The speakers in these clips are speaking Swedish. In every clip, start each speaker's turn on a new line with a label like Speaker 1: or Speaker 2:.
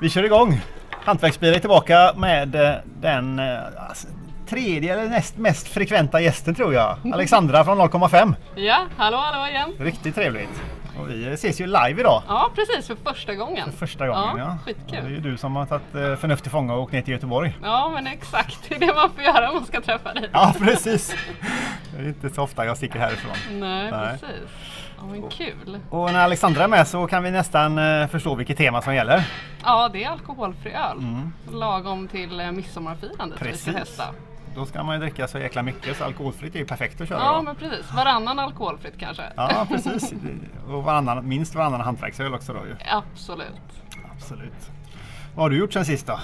Speaker 1: Vi kör igång! Hantverksbil är tillbaka med eh, den eh, alltså, tredje eller näst mest frekventa gästen tror jag.
Speaker 2: Mm.
Speaker 1: Alexandra från 0,5.
Speaker 2: Ja, hallå hallå igen.
Speaker 1: Riktigt trevligt! Och vi ses ju live idag.
Speaker 2: Ja, precis för första gången.
Speaker 1: Första gången
Speaker 2: ja.
Speaker 1: ja.
Speaker 2: Skitkul.
Speaker 1: Och Det är ju du som har tagit eh, förnuft till fånga och åkt ner till Göteborg.
Speaker 2: Ja, men exakt. Det är det man får göra om man ska träffa dig.
Speaker 1: Ja precis! Det är inte så ofta jag sticker härifrån.
Speaker 2: Nej,
Speaker 1: Nej.
Speaker 2: precis. Ja, men kul.
Speaker 1: Och när Alexandra är med så kan vi nästan eh, förstå vilket tema som gäller.
Speaker 2: Ja, det är alkoholfri öl. Lagom till eh, midsommarfirandet vi ska
Speaker 1: Mm. Precis.
Speaker 2: testa.
Speaker 1: Då ska man ju dricka så jäkla mycket så alkoholfritt är ju perfekt att köra.
Speaker 2: Ja,
Speaker 1: då.
Speaker 2: men precis. Varannan alkoholfritt kanske.
Speaker 1: ja precis! Och varannan, minst varannan hantverksöl också då ju.
Speaker 2: Absolut.
Speaker 1: Absolut. Vad har du gjort sen sist då?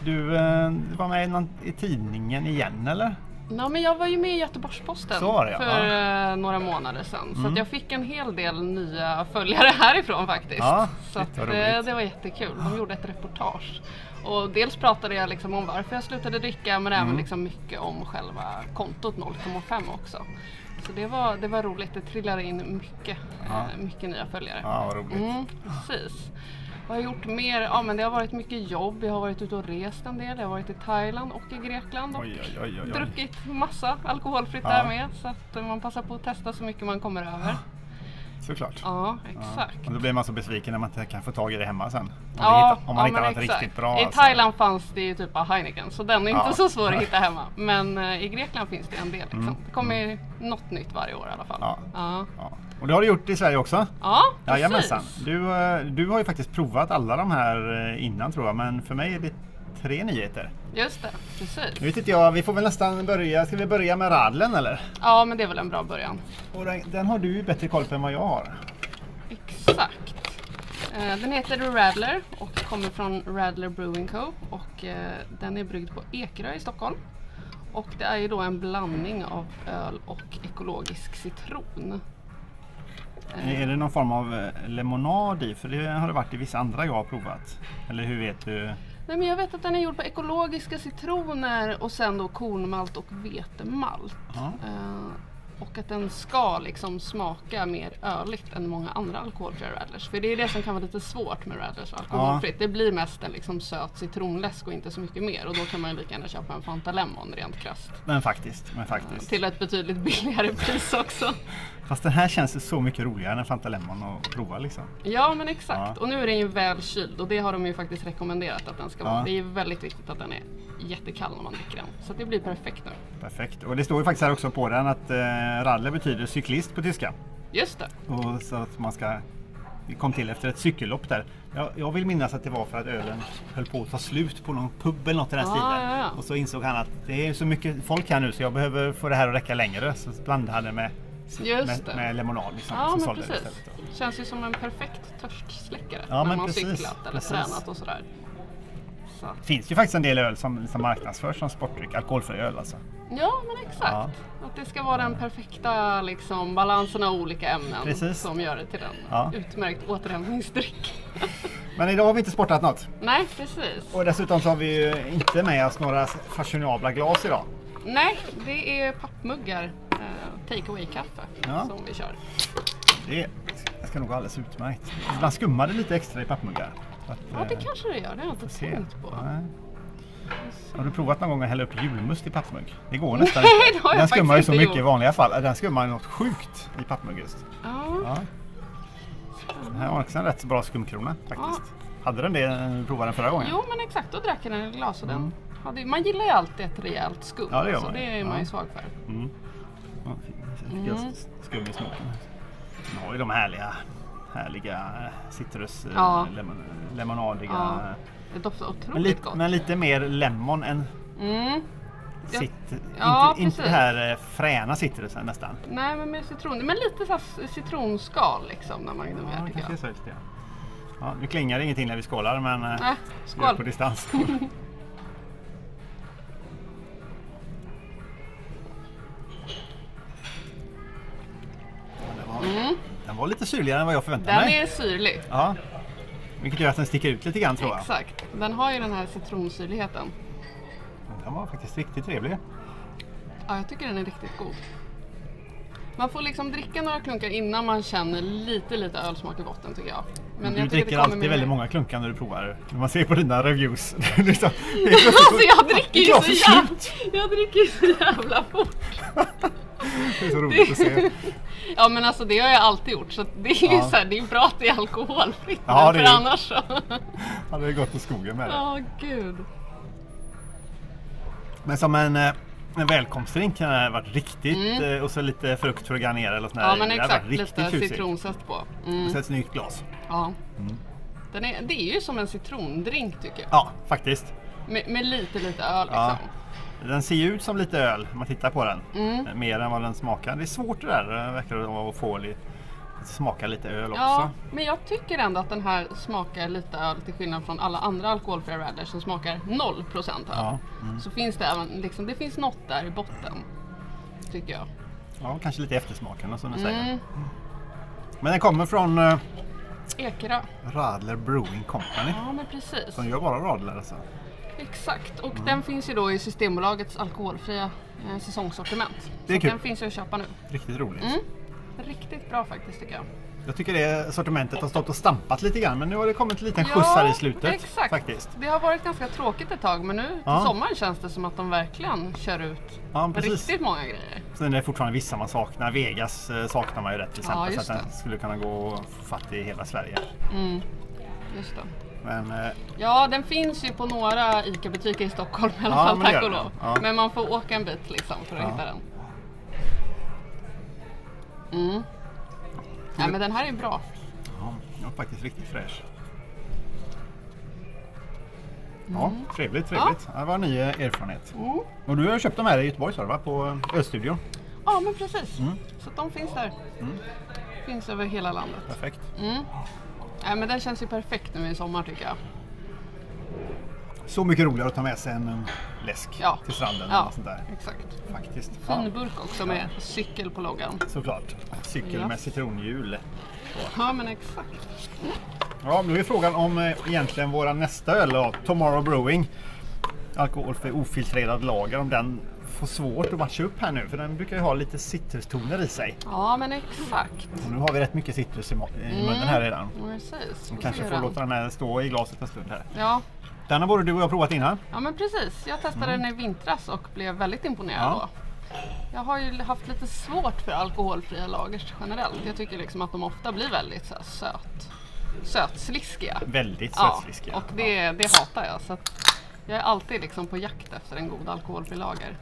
Speaker 1: Du eh, du var med i, någon, i tidningen igen eller?
Speaker 2: Ja, men jag var ju med i Göteborgs-Posten
Speaker 1: Så var det, ja. Mm.
Speaker 2: för eh, några månader sedan. Så att jag fick en hel del nya följare härifrån faktiskt.
Speaker 1: Ja,
Speaker 2: så
Speaker 1: shit,
Speaker 2: att,
Speaker 1: vad
Speaker 2: eh,
Speaker 1: roligt. Ah.
Speaker 2: det var jättekul. De gjorde ett reportage. Och dels pratade jag liksom om varför jag slutade dricka men
Speaker 1: Mm.
Speaker 2: även liksom mycket om själva kontot 0,5 också. Så det var, det var roligt. Det trillade in mycket, eh, mycket nya följare.
Speaker 1: Ja, vad roligt.
Speaker 2: Mm, precis. Vad har jag gjort mer? Ja, men det har varit mycket jobb. Jag har varit ute och rest en del. Jag har varit i Thailand och i Grekland och
Speaker 1: Oj, oj, oj, oj, oj.
Speaker 2: druckit massa alkoholfritt
Speaker 1: Ja. Ah.
Speaker 2: där med. Så att eh, man passar på att testa så mycket man kommer över.
Speaker 1: Såklart.
Speaker 2: Ja, exakt.
Speaker 1: Och då blir man så besviken när man inte kan få tag i det hemma sen. Om,
Speaker 2: Ja,
Speaker 1: vi hittar, om man
Speaker 2: ja,
Speaker 1: hittar
Speaker 2: men
Speaker 1: något
Speaker 2: exakt.
Speaker 1: riktigt bra.
Speaker 2: I
Speaker 1: alltså.
Speaker 2: Thailand fanns det ju typ av Heineken så den är inte
Speaker 1: Ja.
Speaker 2: så svår att hitta hemma. Men eh, i Grekland finns det en del. Liksom. Det kommer ju något nytt varje år i alla fall.
Speaker 1: Mm. Ja.
Speaker 2: ja.
Speaker 1: Ja. Och det har du gjort i Sverige också?
Speaker 2: Ja,
Speaker 1: Jajamensan.
Speaker 2: precis.
Speaker 1: Du, eh, du har ju faktiskt provat alla de här eh, innan tror jag, men för mig är det tre nyheter.
Speaker 2: Just det,
Speaker 1: Nu
Speaker 2: precis.
Speaker 1: vet inte jag, vi får väl nästan börja. Ska vi börja med radlen eller?
Speaker 2: Ja, men det är väl en bra början.
Speaker 1: Och den, den har du ju bättre koll på än vad jag har.
Speaker 2: Exakt. Eh, Den heter Radler och kommer från Radler Brewing Co. Och eh, den är bryggd på Ekerö i Stockholm. Och det är ju då en blandning av öl och ekologisk citron.
Speaker 1: Är det någon form av eh, lemonad i? För det har det varit i vissa andra jag har provat. Eller hur vet du?
Speaker 2: Nej, men jag vet att den är gjord på ekologiska citroner och sen då kornmalt och vetemalt.
Speaker 1: Ja.
Speaker 2: Eh, och att den ska liksom smaka mer öligt än många andra alkoholfria radlers. För det är det som kan vara lite svårt med radlers och alkoholfritt. Det blir mest en liksom söt citronläsk och inte så mycket mer. Och då kan man ju lika gärna köpa en Fanta Lemon rent krasst.
Speaker 1: Men faktiskt, men faktiskt.
Speaker 2: Till ett betydligt billigare pris också.
Speaker 1: Fast den här känns ju så mycket roligare än Fanta Lemon att prova liksom.
Speaker 2: Ja men exakt.
Speaker 1: Ja.
Speaker 2: Och nu är den ju väl kyld och det har de ju faktiskt rekommenderat att den ska vara.
Speaker 1: Ja.
Speaker 2: Det är ju väldigt viktigt att den är jättekall när man dricker den. Så att det blir perfekt nu.
Speaker 1: Perfekt. Och det står ju faktiskt här också på den att eh, radler betyder cyklist på tyska.
Speaker 2: Just det.
Speaker 1: Och så att man ska... Det kom till efter ett cykellopp där. Jag, jag vill minnas att det var för att ölen höll på att ta slut på någon pub eller något i den
Speaker 2: Ah,
Speaker 1: stilen.
Speaker 2: ja, ja.
Speaker 1: Och så insåg han att det är så mycket folk här nu så jag behöver få det här att räcka längre. Så blandade han det med,
Speaker 2: Just
Speaker 1: med,
Speaker 2: det.
Speaker 1: med lemonad. Liksom,
Speaker 2: ja
Speaker 1: som
Speaker 2: men
Speaker 1: sålde det
Speaker 2: precis.
Speaker 1: istället då.
Speaker 2: Känns ju som en perfekt törstsläckare
Speaker 1: Ja,
Speaker 2: när
Speaker 1: men
Speaker 2: man
Speaker 1: precis,
Speaker 2: cyklat eller
Speaker 1: precis.
Speaker 2: tränat och sådär. Så.
Speaker 1: Det finns ju faktiskt en del öl som, som marknadsförs som sportdryck, alkoholfri öl alltså.
Speaker 2: Ja men exakt.
Speaker 1: Ja.
Speaker 2: Att det ska vara den perfekta liksom, balansen av olika ämnen
Speaker 1: Precis.
Speaker 2: som gör det till en
Speaker 1: Ja.
Speaker 2: utmärkt återhämtningsdryck.
Speaker 1: Men idag har vi inte sportat något.
Speaker 2: Nej precis.
Speaker 1: Och dessutom så har vi ju inte med oss några fashionabla glas idag.
Speaker 2: Nej det är pappmuggar, eh, take away kaffe
Speaker 1: Ja.
Speaker 2: som vi kör.
Speaker 1: Det ska nog gå alldeles utmärkt. Ibland skummar det lite extra i pappmuggar. Så att,
Speaker 2: Ja det
Speaker 1: eh,
Speaker 2: kanske det gör, det har jag inte
Speaker 1: se.
Speaker 2: tänkt på.
Speaker 1: Nej. Har du provat någon gång att hälla upp julmust i pappmugg? Det går nästan
Speaker 2: Nej,
Speaker 1: inte.
Speaker 2: det har jag
Speaker 1: Den skummar ju
Speaker 2: faktiskt
Speaker 1: så
Speaker 2: inte
Speaker 1: mycket i
Speaker 2: gjort.
Speaker 1: vanliga fall. Den skummar ju något sjukt i pappmugg just.
Speaker 2: Ja.
Speaker 1: Ja. Den här har också en rätt så bra skumkrona faktiskt. Hade den det när du provade den förra gången?
Speaker 2: Jo men exakt, då drack jag den i glas och den hade, ju- man gillar ju alltid ett rejält skum.
Speaker 1: Ja, det gör
Speaker 2: så
Speaker 1: man ju.
Speaker 2: det är man ju
Speaker 1: Ja.
Speaker 2: svag för.
Speaker 1: Ja, fin. Fick
Speaker 2: Mm.
Speaker 1: jag s- Skum i smaken. Den har ju de härliga, härliga citrus, eh,
Speaker 2: Ja.
Speaker 1: lemon, lemonadiga.
Speaker 2: Ja, Det doftar
Speaker 1: Men,
Speaker 2: otroligt
Speaker 1: lite-
Speaker 2: gott.
Speaker 1: men lite mer lemon än
Speaker 2: Mm. Ja.
Speaker 1: cit,
Speaker 2: Ja,
Speaker 1: inte, inte det
Speaker 2: precis.
Speaker 1: här eh, fräna citrusen nästan.
Speaker 2: Nej men med citron, men lite så här c- citronskal liksom när man
Speaker 1: Ja,
Speaker 2: gnuggar
Speaker 1: det
Speaker 2: tycker
Speaker 1: kanske
Speaker 2: jag.
Speaker 1: är så lite. ja. Ja, nu klingar det ingenting när vi skålar men eh,
Speaker 2: Nej,
Speaker 1: vi är på
Speaker 2: skål!
Speaker 1: distans. Den var- Den var lite syrligare än vad jag förväntade
Speaker 2: Mm. Den
Speaker 1: mig.
Speaker 2: är syrlig.
Speaker 1: Ja. Vilket gör att den sticker ut lite grann tror jag.
Speaker 2: Exakt. Den har ju den här citronsyrligheten.
Speaker 1: Den var faktiskt riktigt trevlig.
Speaker 2: Ja, jag tycker den är riktigt god. Man får liksom dricka några klunkar innan man känner lite, lite ölsmak i botten tycker jag. Men
Speaker 1: du
Speaker 2: jag tycker det
Speaker 1: dricker
Speaker 2: kommer
Speaker 1: alltid
Speaker 2: med-
Speaker 1: väldigt många klunkar när du provar. När man ser på dina reviews. Det är liksom, helt plötsligt-
Speaker 2: Alltså jag dricker ju
Speaker 1: glaset
Speaker 2: så jävla, jag dricker ju så jävla fort.
Speaker 1: Det är så roligt att se.
Speaker 2: Ja men alltså det har jag alltid gjort så att det är ju
Speaker 1: Ja.
Speaker 2: så här, det är bra att det är alkoholfritt.
Speaker 1: Ja, det
Speaker 2: men
Speaker 1: är
Speaker 2: för
Speaker 1: det.
Speaker 2: annars så.
Speaker 1: Han har ju gått i skogen med det.
Speaker 2: Ja gud.
Speaker 1: Men som en, eh, en välkomstdrink kan det ha varit riktigt. eh, Och så lite frukt för att garnera eller sånt där
Speaker 2: Mm. Ja
Speaker 1: i.
Speaker 2: men
Speaker 1: Det hade
Speaker 2: exakt,
Speaker 1: varit riktigt
Speaker 2: lite
Speaker 1: tjusigt. Mm.
Speaker 2: citronsätt på. Mm,
Speaker 1: Och så ett snyggt glas.
Speaker 2: ja. Den är, det är ju som en citrondrink tycker jag.
Speaker 1: Ja, faktiskt.
Speaker 2: Med, med lite, lite öl
Speaker 1: Ja.
Speaker 2: liksom.
Speaker 1: Den ser ju ut som lite öl när man tittar på den.
Speaker 2: Mm.
Speaker 1: Eh, Mer än vad den smakar. Det är svårt det där eh, verkar det vara, att få li- att smaka lite öl
Speaker 2: Ja,
Speaker 1: också.
Speaker 2: men jag tycker ändå att den här smakar lite öl till skillnad från alla andra alkoholfria radler som smakar 0% öl.
Speaker 1: Ja, mm.
Speaker 2: Så finns det även, liksom, det finns något där i botten. Tycker jag.
Speaker 1: ja kanske lite eftersmaken och som du säger.
Speaker 2: Mm.
Speaker 1: Men den kommer från eh,
Speaker 2: Ekerö.
Speaker 1: Radler Brewing Company.
Speaker 2: Ja men precis.
Speaker 1: De gör bara radler alltså.
Speaker 2: Exakt. Och den finns ju då i Systembolagets alkoholfria eh, säsongssortiment.
Speaker 1: Det är
Speaker 2: så
Speaker 1: kul.
Speaker 2: den finns ju att köpa nu.
Speaker 1: Riktigt roligt.
Speaker 2: Mm. Riktigt bra faktiskt tycker jag.
Speaker 1: Jag tycker det sortimentet har stått och stampat lite grann men nu har det kommit en liten
Speaker 2: Ja,
Speaker 1: skjuts här i slutet.
Speaker 2: Exakt.
Speaker 1: Faktiskt.
Speaker 2: Det har varit ganska tråkigt ett tag men nu till
Speaker 1: Ja.
Speaker 2: sommaren känns det som att de verkligen kör ut
Speaker 1: Ja, precis.
Speaker 2: riktigt många grejer.
Speaker 1: Sen är det fortfarande vissa man saknar. Vegas eh, saknar man ju rätt till
Speaker 2: Ja,
Speaker 1: exempel.
Speaker 2: just
Speaker 1: så att den
Speaker 2: det.
Speaker 1: skulle kunna gå och få fatt i hela Sverige.
Speaker 2: Mm. Just det.
Speaker 1: Men eh,
Speaker 2: Ja, den finns ju på några ICA-butiker i Stockholm i alla
Speaker 1: Ja,
Speaker 2: fall,
Speaker 1: men det
Speaker 2: tack
Speaker 1: gör
Speaker 2: och
Speaker 1: den.
Speaker 2: lov.
Speaker 1: Ja.
Speaker 2: Men man får åka en bit liksom för att
Speaker 1: Ja.
Speaker 2: hitta den. Mm. Nej, men den här är bra.
Speaker 1: ja, den var faktiskt riktigt fräsch. Ja, trevligt, trevligt. Det var en ny eh, erfarenhet.
Speaker 2: Mm.
Speaker 1: Och du har köpt dem här i Göteborg sa du va? På eh, Ölstudion.
Speaker 2: Ja, men precis.
Speaker 1: Mm.
Speaker 2: Så att de finns där. Finns över hela landet.
Speaker 1: Perfekt.
Speaker 2: Mm. Nej, men den känns ju perfekt nu i sommar tycker jag.
Speaker 1: Så mycket roligare att ta med sig än en läsk
Speaker 2: Ja.
Speaker 1: till stranden.
Speaker 2: Ja,
Speaker 1: Och sånt där.
Speaker 2: exakt.
Speaker 1: Faktiskt.
Speaker 2: Fin burk också med cykel på loggan.
Speaker 1: Såklart. Cykel
Speaker 2: Ja.
Speaker 1: med citronhjul.
Speaker 2: Ja, men exakt.
Speaker 1: Ja, nu är frågan om eh, egentligen våra nästa öl då, Tomorrow Brewing. Alkoholfri ofiltrerad lager, om den får svårt att matcha upp här nu. För den brukar ju ha lite citrustoner i sig.
Speaker 2: Ja, men exakt.
Speaker 1: Och nu har vi rätt mycket citrus i, ma- i
Speaker 2: Mm.
Speaker 1: munnen här redan.
Speaker 2: Precis.
Speaker 1: Som
Speaker 2: Får
Speaker 1: kanske
Speaker 2: se
Speaker 1: får
Speaker 2: den.
Speaker 1: låta den här stå i glaset en stund här.
Speaker 2: Ja,
Speaker 1: Den har både du och jag provat innan.
Speaker 2: Ja men precis, jag testade den i vintras och blev väldigt imponerad
Speaker 1: Mm. Ja.
Speaker 2: då. Jag har ju haft lite svårt för alkoholfria lagers generellt. Jag tycker liksom att de ofta blir väldigt så här, söt, sötsliskiga.
Speaker 1: Väldigt
Speaker 2: Ja,
Speaker 1: sötsliskig.
Speaker 2: och det, det hatar jag. Så att jag är alltid liksom på jakt efter en god alkoholfri lager.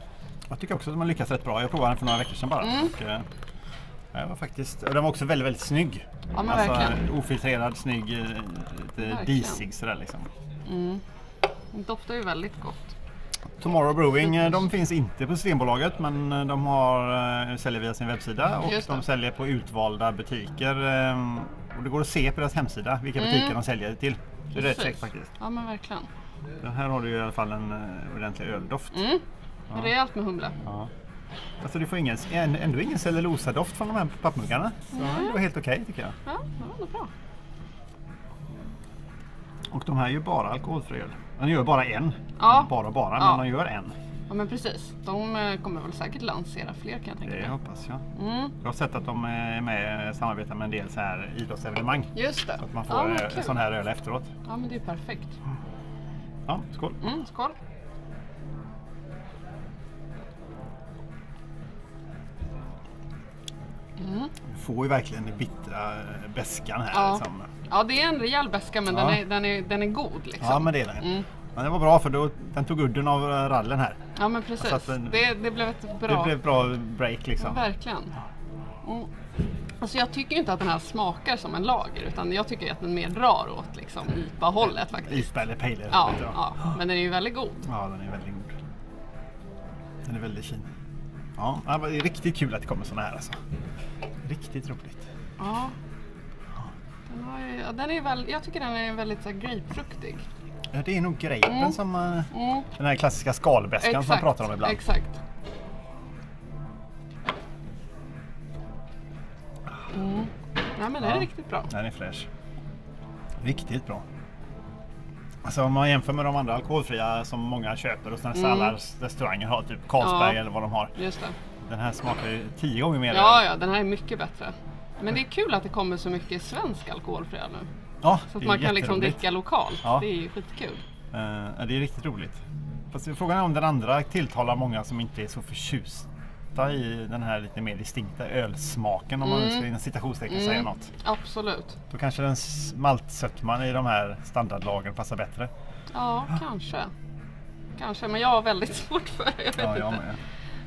Speaker 1: Jag tycker också att de har lyckats rätt bra. Jag provade den för några veckor sedan bara.
Speaker 2: Mm.
Speaker 1: Och, eh, den var faktiskt, och den var också väldigt, väldigt snygg. Alltså,
Speaker 2: Ja, men verkligen.
Speaker 1: Ofiltrerad, snygg, eh, lite
Speaker 2: Verkligen.
Speaker 1: disig sådär liksom.
Speaker 2: Den doftar ju väldigt gott.
Speaker 1: Tomorrow Brewing, eh, de finns inte på Systembolaget men eh, de har, eh, säljer via sin webbsida och
Speaker 2: Just det.
Speaker 1: de säljer på utvalda butiker. eh, Och det går att se på deras hemsida vilka butiker de säljer det till. Det är rätt
Speaker 2: Mm. Precis.
Speaker 1: käckt faktiskt.
Speaker 2: Ja men verkligen.
Speaker 1: Den här har du ju i alla fall en eh, ordentlig öldoft.
Speaker 2: Mm. Rejält med humle.
Speaker 1: Ja. Alltså du får ingen, än- ändå ingen cellulosadoft från de här pappmuggarna. Så det var helt okej tycker jag.
Speaker 2: Ja, det var ändå bra.
Speaker 1: Och de här är ju bara alkoholfri öl. De gör bara en.
Speaker 2: Ja.
Speaker 1: Bara bara,
Speaker 2: Ja.
Speaker 1: men de gör en.
Speaker 2: Ja men precis, de eh, kommer väl säkert lansera fler kan jag tänka
Speaker 1: Det
Speaker 2: mig.
Speaker 1: hoppas jag.
Speaker 2: Mm.
Speaker 1: Jag har sett att de är med, samarbetar med en del så här idrottsevenemang.
Speaker 2: Just det.
Speaker 1: Att man får
Speaker 2: ja, men
Speaker 1: eh,
Speaker 2: kul.
Speaker 1: sån här öl efteråt.
Speaker 2: Ja men det är perfekt.
Speaker 1: Ja, skål!
Speaker 2: Mm, skål.
Speaker 1: Du får ju verkligen den bittra eh, beskan här.
Speaker 2: Ja.
Speaker 1: Liksom.
Speaker 2: Ja, det är en rejäl beska men
Speaker 1: Ja.
Speaker 2: den, är, den, är, den är god. Liksom.
Speaker 1: ja men det är den.
Speaker 2: Mm.
Speaker 1: Men det var bra för då, den tog udden av eh, rallen här.
Speaker 2: Ja, men precis.
Speaker 1: Alltså att den-
Speaker 2: det, det blev ett bra...
Speaker 1: Det blev bra break liksom.
Speaker 2: Verkligen. Mm. Alltså jag tycker ju inte att den här smakar som en lager utan jag tycker att den mer drar åt liksom, IPA-hållet faktiskt.
Speaker 1: IPA eller pale ale,
Speaker 2: Ja,
Speaker 1: vet jag.
Speaker 2: ja, men den är ju väldigt god.
Speaker 1: ja, den är väldigt god. Den är väldigt fin. Ja, ja, men det är riktigt kul att det kommer såna här alltså. Riktigt roligt.
Speaker 2: Ja. Den har ju, ja, den är väl, jag tycker den är väldigt så här, grapefruktig.
Speaker 1: Ja, det är nog grejen
Speaker 2: Mm.
Speaker 1: som... eh,
Speaker 2: Mm.
Speaker 1: Den här klassiska skalbäskan som man pratar om ibland.
Speaker 2: Exakt. Mm. Nej men det är
Speaker 1: Ja.
Speaker 2: riktigt bra.
Speaker 1: Den är fräsch. Riktigt bra. Alltså om man jämför med de andra alkoholfria som många köper och sen mm.
Speaker 2: Mm.
Speaker 1: alla restauranger har, typ Carlsberg
Speaker 2: Ja.
Speaker 1: eller vad de har.
Speaker 2: Just det.
Speaker 1: Den här smakar ju tio gånger mer.
Speaker 2: Ja, ja, den här är mycket bättre. Men det är kul att det kommer så mycket svensk alkoholfri öl nu.
Speaker 1: ja
Speaker 2: Så att
Speaker 1: det är
Speaker 2: man kan liksom
Speaker 1: jätteroligt.
Speaker 2: dricka lokalt.
Speaker 1: Ja.
Speaker 2: Det är ju skitkul.
Speaker 1: Eh, ja, det är riktigt roligt. Fast frågan är om den andra tilltalar många som inte är så förtjusta i den här lite mer distinkta ölsmaken om man
Speaker 2: Mm.
Speaker 1: nu ska inom citationstecken säga något.
Speaker 2: Absolut.
Speaker 1: Då kanske den s- maltsötman i de här standardlagren passar bättre.
Speaker 2: Ja, kanske. Kanske, men jag har väldigt svårt för det. Jag vet
Speaker 1: Ja, jag
Speaker 2: inte.
Speaker 1: med.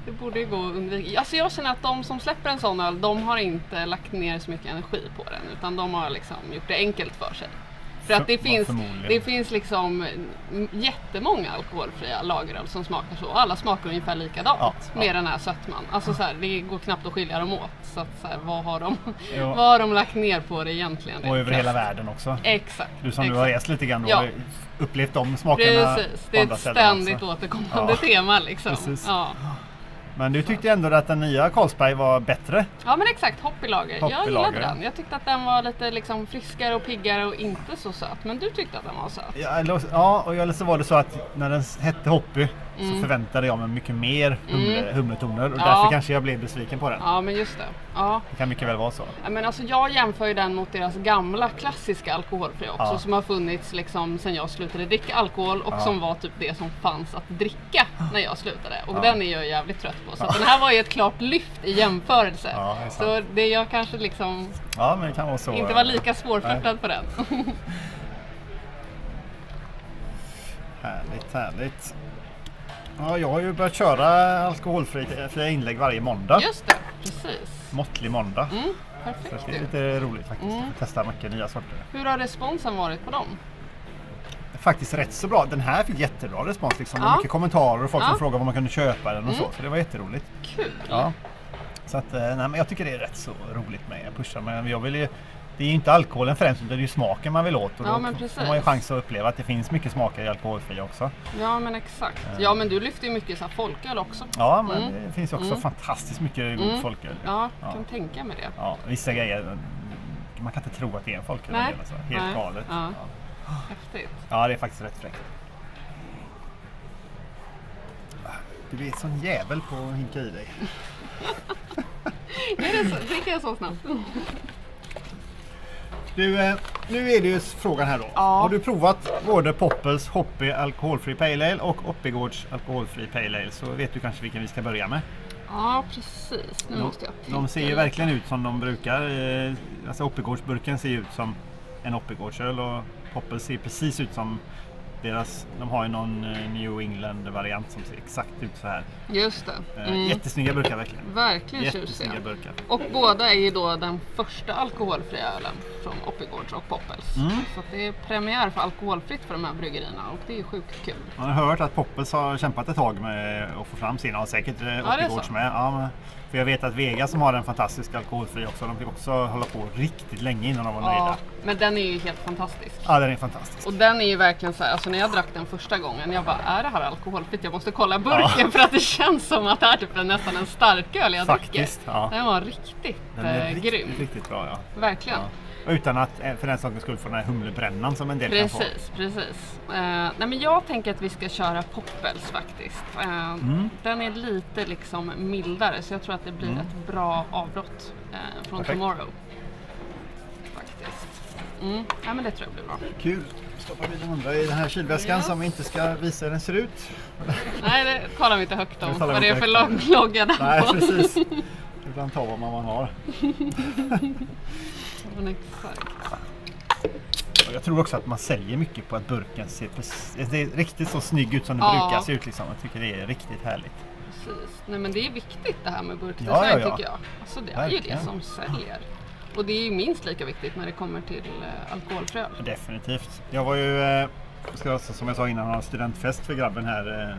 Speaker 2: Det borde ju gå att undvika. Alltså jag känner att de som släpper en sån öl, de har inte lagt ner så mycket energi på den. Utan de har liksom gjort det enkelt för sig. För att det
Speaker 1: För-
Speaker 2: finns,
Speaker 1: förmodligen.
Speaker 2: det finns liksom m- jättemånga alkoholfria lageröl som smakar så. Alla smakar ungefär likadant
Speaker 1: Ja, ja.
Speaker 2: med den här sötman. Alltså så här, det går knappt att skilja dem åt. Så att så här, vad, har de,
Speaker 1: Ja.
Speaker 2: vad har de lagt ner på det egentligen? Liksom?
Speaker 1: Och över hela
Speaker 2: Exakt.
Speaker 1: världen också.
Speaker 2: Exakt.
Speaker 1: Du som nu
Speaker 2: exakt.
Speaker 1: har rest lite grann och
Speaker 2: Ja.
Speaker 1: har upplevt de smakerna
Speaker 2: Precis,
Speaker 1: på
Speaker 2: det är
Speaker 1: andra
Speaker 2: ett
Speaker 1: ställen också.
Speaker 2: ständigt återkommande
Speaker 1: Ja.
Speaker 2: tema liksom.
Speaker 1: Precis.
Speaker 2: Ja.
Speaker 1: Men du tyckte ändå att den nya Carlsberg var bättre.
Speaker 2: Ja men exakt, hopp i lager.
Speaker 1: Hopp i
Speaker 2: jag
Speaker 1: lager.
Speaker 2: gillade den. Jag tyckte att den var lite liksom friskare och piggare och inte så söt. Men du tyckte att den var söt.
Speaker 1: Ja, eller- ja, och eller så var det så att när den s- hette Hoppy så förväntade jag mig mycket mer humle, humletoner och
Speaker 2: Mm. Ja.
Speaker 1: därför kanske jag blev besviken på den.
Speaker 2: Ja men just det. Ja.
Speaker 1: Det kan mycket väl vara så.
Speaker 2: Ja, Men alltså jag jämför ju den mot deras gamla klassiska alkoholfria också
Speaker 1: Ja.
Speaker 2: som har funnits liksom sen jag slutade dricka alkohol och som var typ det som fanns att dricka när jag slutade. Och den är jag jävligt trött på. Så att den här var ju ett klart lyft i jämförelse.
Speaker 1: Ja, det är
Speaker 2: så
Speaker 1: sant.
Speaker 2: det jag kanske liksom
Speaker 1: Ja, men det kan vara så.
Speaker 2: inte var lika svårflörtad på den.
Speaker 1: Härligt, härligt. Ja, jag har ju börjat köra alkoholfria inlägg varje måndag.
Speaker 2: Just det, precis.
Speaker 1: Måttlig måndag.
Speaker 2: Mm,
Speaker 1: Så
Speaker 2: perfekt
Speaker 1: det är
Speaker 2: ju.
Speaker 1: lite roligt faktiskt. att få Testa mycket nya sorter.
Speaker 2: Hur har responsen varit på dem?
Speaker 1: Faktiskt rätt så bra. Den här fick jättebra respons. Liksom. Det var
Speaker 2: Ja.
Speaker 1: Mycket kommentarer och folk som
Speaker 2: Ja. Mm.
Speaker 1: frågade var man kunde köpa den och så. Så det var jätteroligt.
Speaker 2: Kul!
Speaker 1: Ja. Så att, eh, nej, men jag tycker det är rätt så roligt med pushar. Men jag vill ju, det är ju inte alkoholen främst utan det är ju smaken man vill åt. Och
Speaker 2: Ja,
Speaker 1: då
Speaker 2: men
Speaker 1: får
Speaker 2: precis.
Speaker 1: man ju chans att uppleva att det finns mycket smaker i alkoholfria också.
Speaker 2: Ja men exakt.
Speaker 1: Eh.
Speaker 2: Ja men du lyfter ju mycket så här folköl också.
Speaker 1: Ja, men
Speaker 2: Mm.
Speaker 1: det finns ju också fantastiskt mycket god folköl.
Speaker 2: Ja,
Speaker 1: Ja.
Speaker 2: kan tänka mig det.
Speaker 1: Ja, vissa grejer, mm, man kan inte tro att det är en folköl.
Speaker 2: Nej.
Speaker 1: Alltså. Helt
Speaker 2: Nej.
Speaker 1: galet.
Speaker 2: Ja.
Speaker 1: Ja.
Speaker 2: Häftigt.
Speaker 1: Ja, det är faktiskt rätt fräckt. Du är sån jävel på att hinka i dig.
Speaker 2: Är det så, dricker jag så snabbt?
Speaker 1: Du, eh, nu är det ju frågan här då.
Speaker 2: Ja.
Speaker 1: Har du provat både Poppels Hoppy alkoholfri Pale Ale och Oppigårds alkoholfri Pale Ale så vet du kanske vilken vi ska börja med.
Speaker 2: Mm, Ja precis. Nu måste jag tänka.
Speaker 1: De ser ju
Speaker 2: lite.
Speaker 1: verkligen ut som de brukar. eh, Alltså Oppigårdsburken ser ju ut som en Oppigårdsöl och Poppels ser precis ut som deras, de har ju någon eh, New England-variant som ser exakt ut så här.
Speaker 2: Just det.
Speaker 1: Eh,
Speaker 2: Mm.
Speaker 1: Jättesnygga burkar verkligen.
Speaker 2: Verkligen
Speaker 1: Jättesnygga
Speaker 2: tjusiga.
Speaker 1: burkar.
Speaker 2: Och båda är ju då den första alkoholfria ölen från Oppigårds och Poppels.
Speaker 1: Mm.
Speaker 2: Så att det är premiär för alkoholfritt för de här bryggerierna och det är ju sjukt kul.
Speaker 1: Man har hört att Poppels har kämpat ett tag med att få fram sina och säkert eh,
Speaker 2: är
Speaker 1: Oppigårds
Speaker 2: så.
Speaker 1: med. Ja, men, för jag vet att Vega som har en fantastisk alkoholfri också, de fick också hålla på riktigt länge innan de var
Speaker 2: Ja,
Speaker 1: nöjda.
Speaker 2: men den är ju helt fantastisk.
Speaker 1: Ja, den är fantastisk.
Speaker 2: Och den är ju verkligen så här, alltså när jag drack den första gången, jag bara är det här alkoholfritt? Jag måste kolla burken för att det känns som att det är typ en, nästan en starköl jag
Speaker 1: Faktiskt,
Speaker 2: dricker.
Speaker 1: ja.
Speaker 2: Den var riktigt,
Speaker 1: Den är
Speaker 2: eh,
Speaker 1: riktigt,
Speaker 2: grym,
Speaker 1: riktigt bra. Ja.
Speaker 2: verkligen.
Speaker 1: Ja. Och Utan att eh, för den sakens skull få den här humlebrännan som en del kan få.
Speaker 2: Precis, precis. Eh, nej men jag tänker att vi ska köra Poppels faktiskt. Eh,
Speaker 1: Mm.
Speaker 2: Den är lite liksom mildare så jag tror att det blir ett bra avbrott eh, från
Speaker 1: Perfekt.
Speaker 2: Tomorrow. Faktiskt. Mm. Ja, men det tror jag blir bra.
Speaker 1: Kul! Stoppar vi den andra i den här kylväskan
Speaker 2: Yes.
Speaker 1: som vi inte ska visa hur den ser ut.
Speaker 2: Nej, det talar vi inte högt om.
Speaker 1: Det talar vi
Speaker 2: Vad det är
Speaker 1: inte
Speaker 2: för
Speaker 1: högt om.
Speaker 2: logg- logga där
Speaker 1: Nej,
Speaker 2: på.
Speaker 1: precis. Ibland tar man vad man har.
Speaker 2: Men exakt.
Speaker 1: Och Jag tror också att man säljer mycket på att burken ser precis, det är riktigt så snygg ut som den
Speaker 2: Ja.
Speaker 1: brukar se ut. Liksom. Jag tycker det är riktigt härligt.
Speaker 2: Precis. Nej men det är viktigt det här med
Speaker 1: Ja,
Speaker 2: burkdesign
Speaker 1: ja, ja.
Speaker 2: tycker jag. Alltså det är ju
Speaker 1: Verkligen.
Speaker 2: det som säljer. Och det är ju minst lika viktigt när det kommer till eh, alkoholfri öl.
Speaker 1: Definitivt. Jag var ju, eh, ska, jag- som jag sa innan, ha studentfest för grabben här. eh,